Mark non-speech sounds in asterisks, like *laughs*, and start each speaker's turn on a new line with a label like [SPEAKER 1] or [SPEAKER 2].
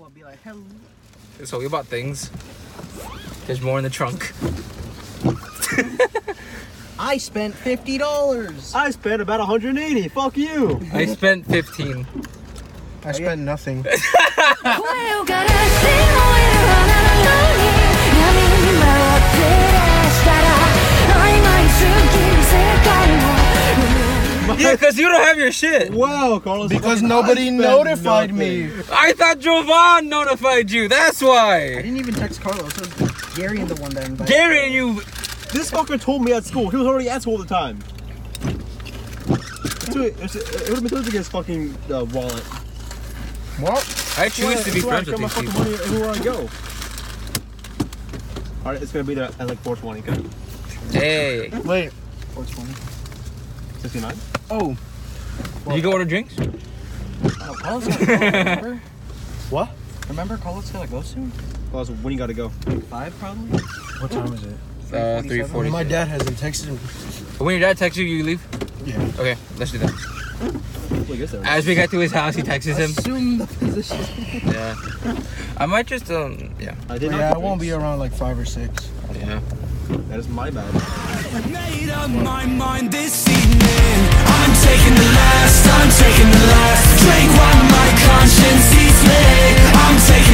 [SPEAKER 1] and be like, hello.
[SPEAKER 2] So we bought things. There's more in the trunk.
[SPEAKER 1] I spent fifty dollars.
[SPEAKER 3] I spent about 180. Fuck you.
[SPEAKER 2] I spent 15.
[SPEAKER 4] *laughs* I spent nothing.
[SPEAKER 5] 声を枯らして燃える花のように闇に回ってるしたら曖昧すぎる世界も
[SPEAKER 2] Yeah, because you don't have your shit.
[SPEAKER 3] Wow, Carlos.
[SPEAKER 4] Because nobody notified me.
[SPEAKER 2] I thought Jovan notified you. That's
[SPEAKER 1] I
[SPEAKER 2] why.
[SPEAKER 1] didn't even text Carlos. It was Gary and the one that invited.
[SPEAKER 2] Gary and you.
[SPEAKER 3] This fucker told me at school. He was already at school at the time. Dude, it's- it would have been good to get his fucking uh, wallet.
[SPEAKER 4] Well,
[SPEAKER 2] I choose to be
[SPEAKER 3] That's why I
[SPEAKER 2] friends with
[SPEAKER 3] get my
[SPEAKER 2] these
[SPEAKER 3] fucking
[SPEAKER 2] people.
[SPEAKER 3] money everywhere I go. All right, it's gonna be there at like 420. Okay,
[SPEAKER 2] Hey.
[SPEAKER 4] wait.
[SPEAKER 3] 69.
[SPEAKER 4] Oh,
[SPEAKER 2] Did you go order drinks?
[SPEAKER 1] Oh, Carlos got a call, remember?
[SPEAKER 3] *laughs*
[SPEAKER 4] What?
[SPEAKER 1] Remember Carlos gotta go soon?
[SPEAKER 3] Well, so when you gotta go?
[SPEAKER 1] Five probably.
[SPEAKER 4] what time is it?
[SPEAKER 2] Uh,
[SPEAKER 1] 347.
[SPEAKER 2] 340.
[SPEAKER 4] My dad hasn't texted me.
[SPEAKER 2] But when your dad texts you, you leave?
[SPEAKER 4] Yeah.
[SPEAKER 2] Okay, let's do that.
[SPEAKER 3] Look, it's there.
[SPEAKER 2] As we get to his house, he texts him.
[SPEAKER 1] Assume the position.
[SPEAKER 2] Yeah. I might just, um, yeah.
[SPEAKER 3] I did
[SPEAKER 4] But
[SPEAKER 3] not
[SPEAKER 4] yeah,
[SPEAKER 3] get
[SPEAKER 4] I won't be
[SPEAKER 3] this.
[SPEAKER 4] around like five or six.
[SPEAKER 2] Yeah.
[SPEAKER 3] That is my bad.
[SPEAKER 6] Made up my mind this evening. I'm taking the last, I'm taking the last. Drink while my conscience eats me. I'm taking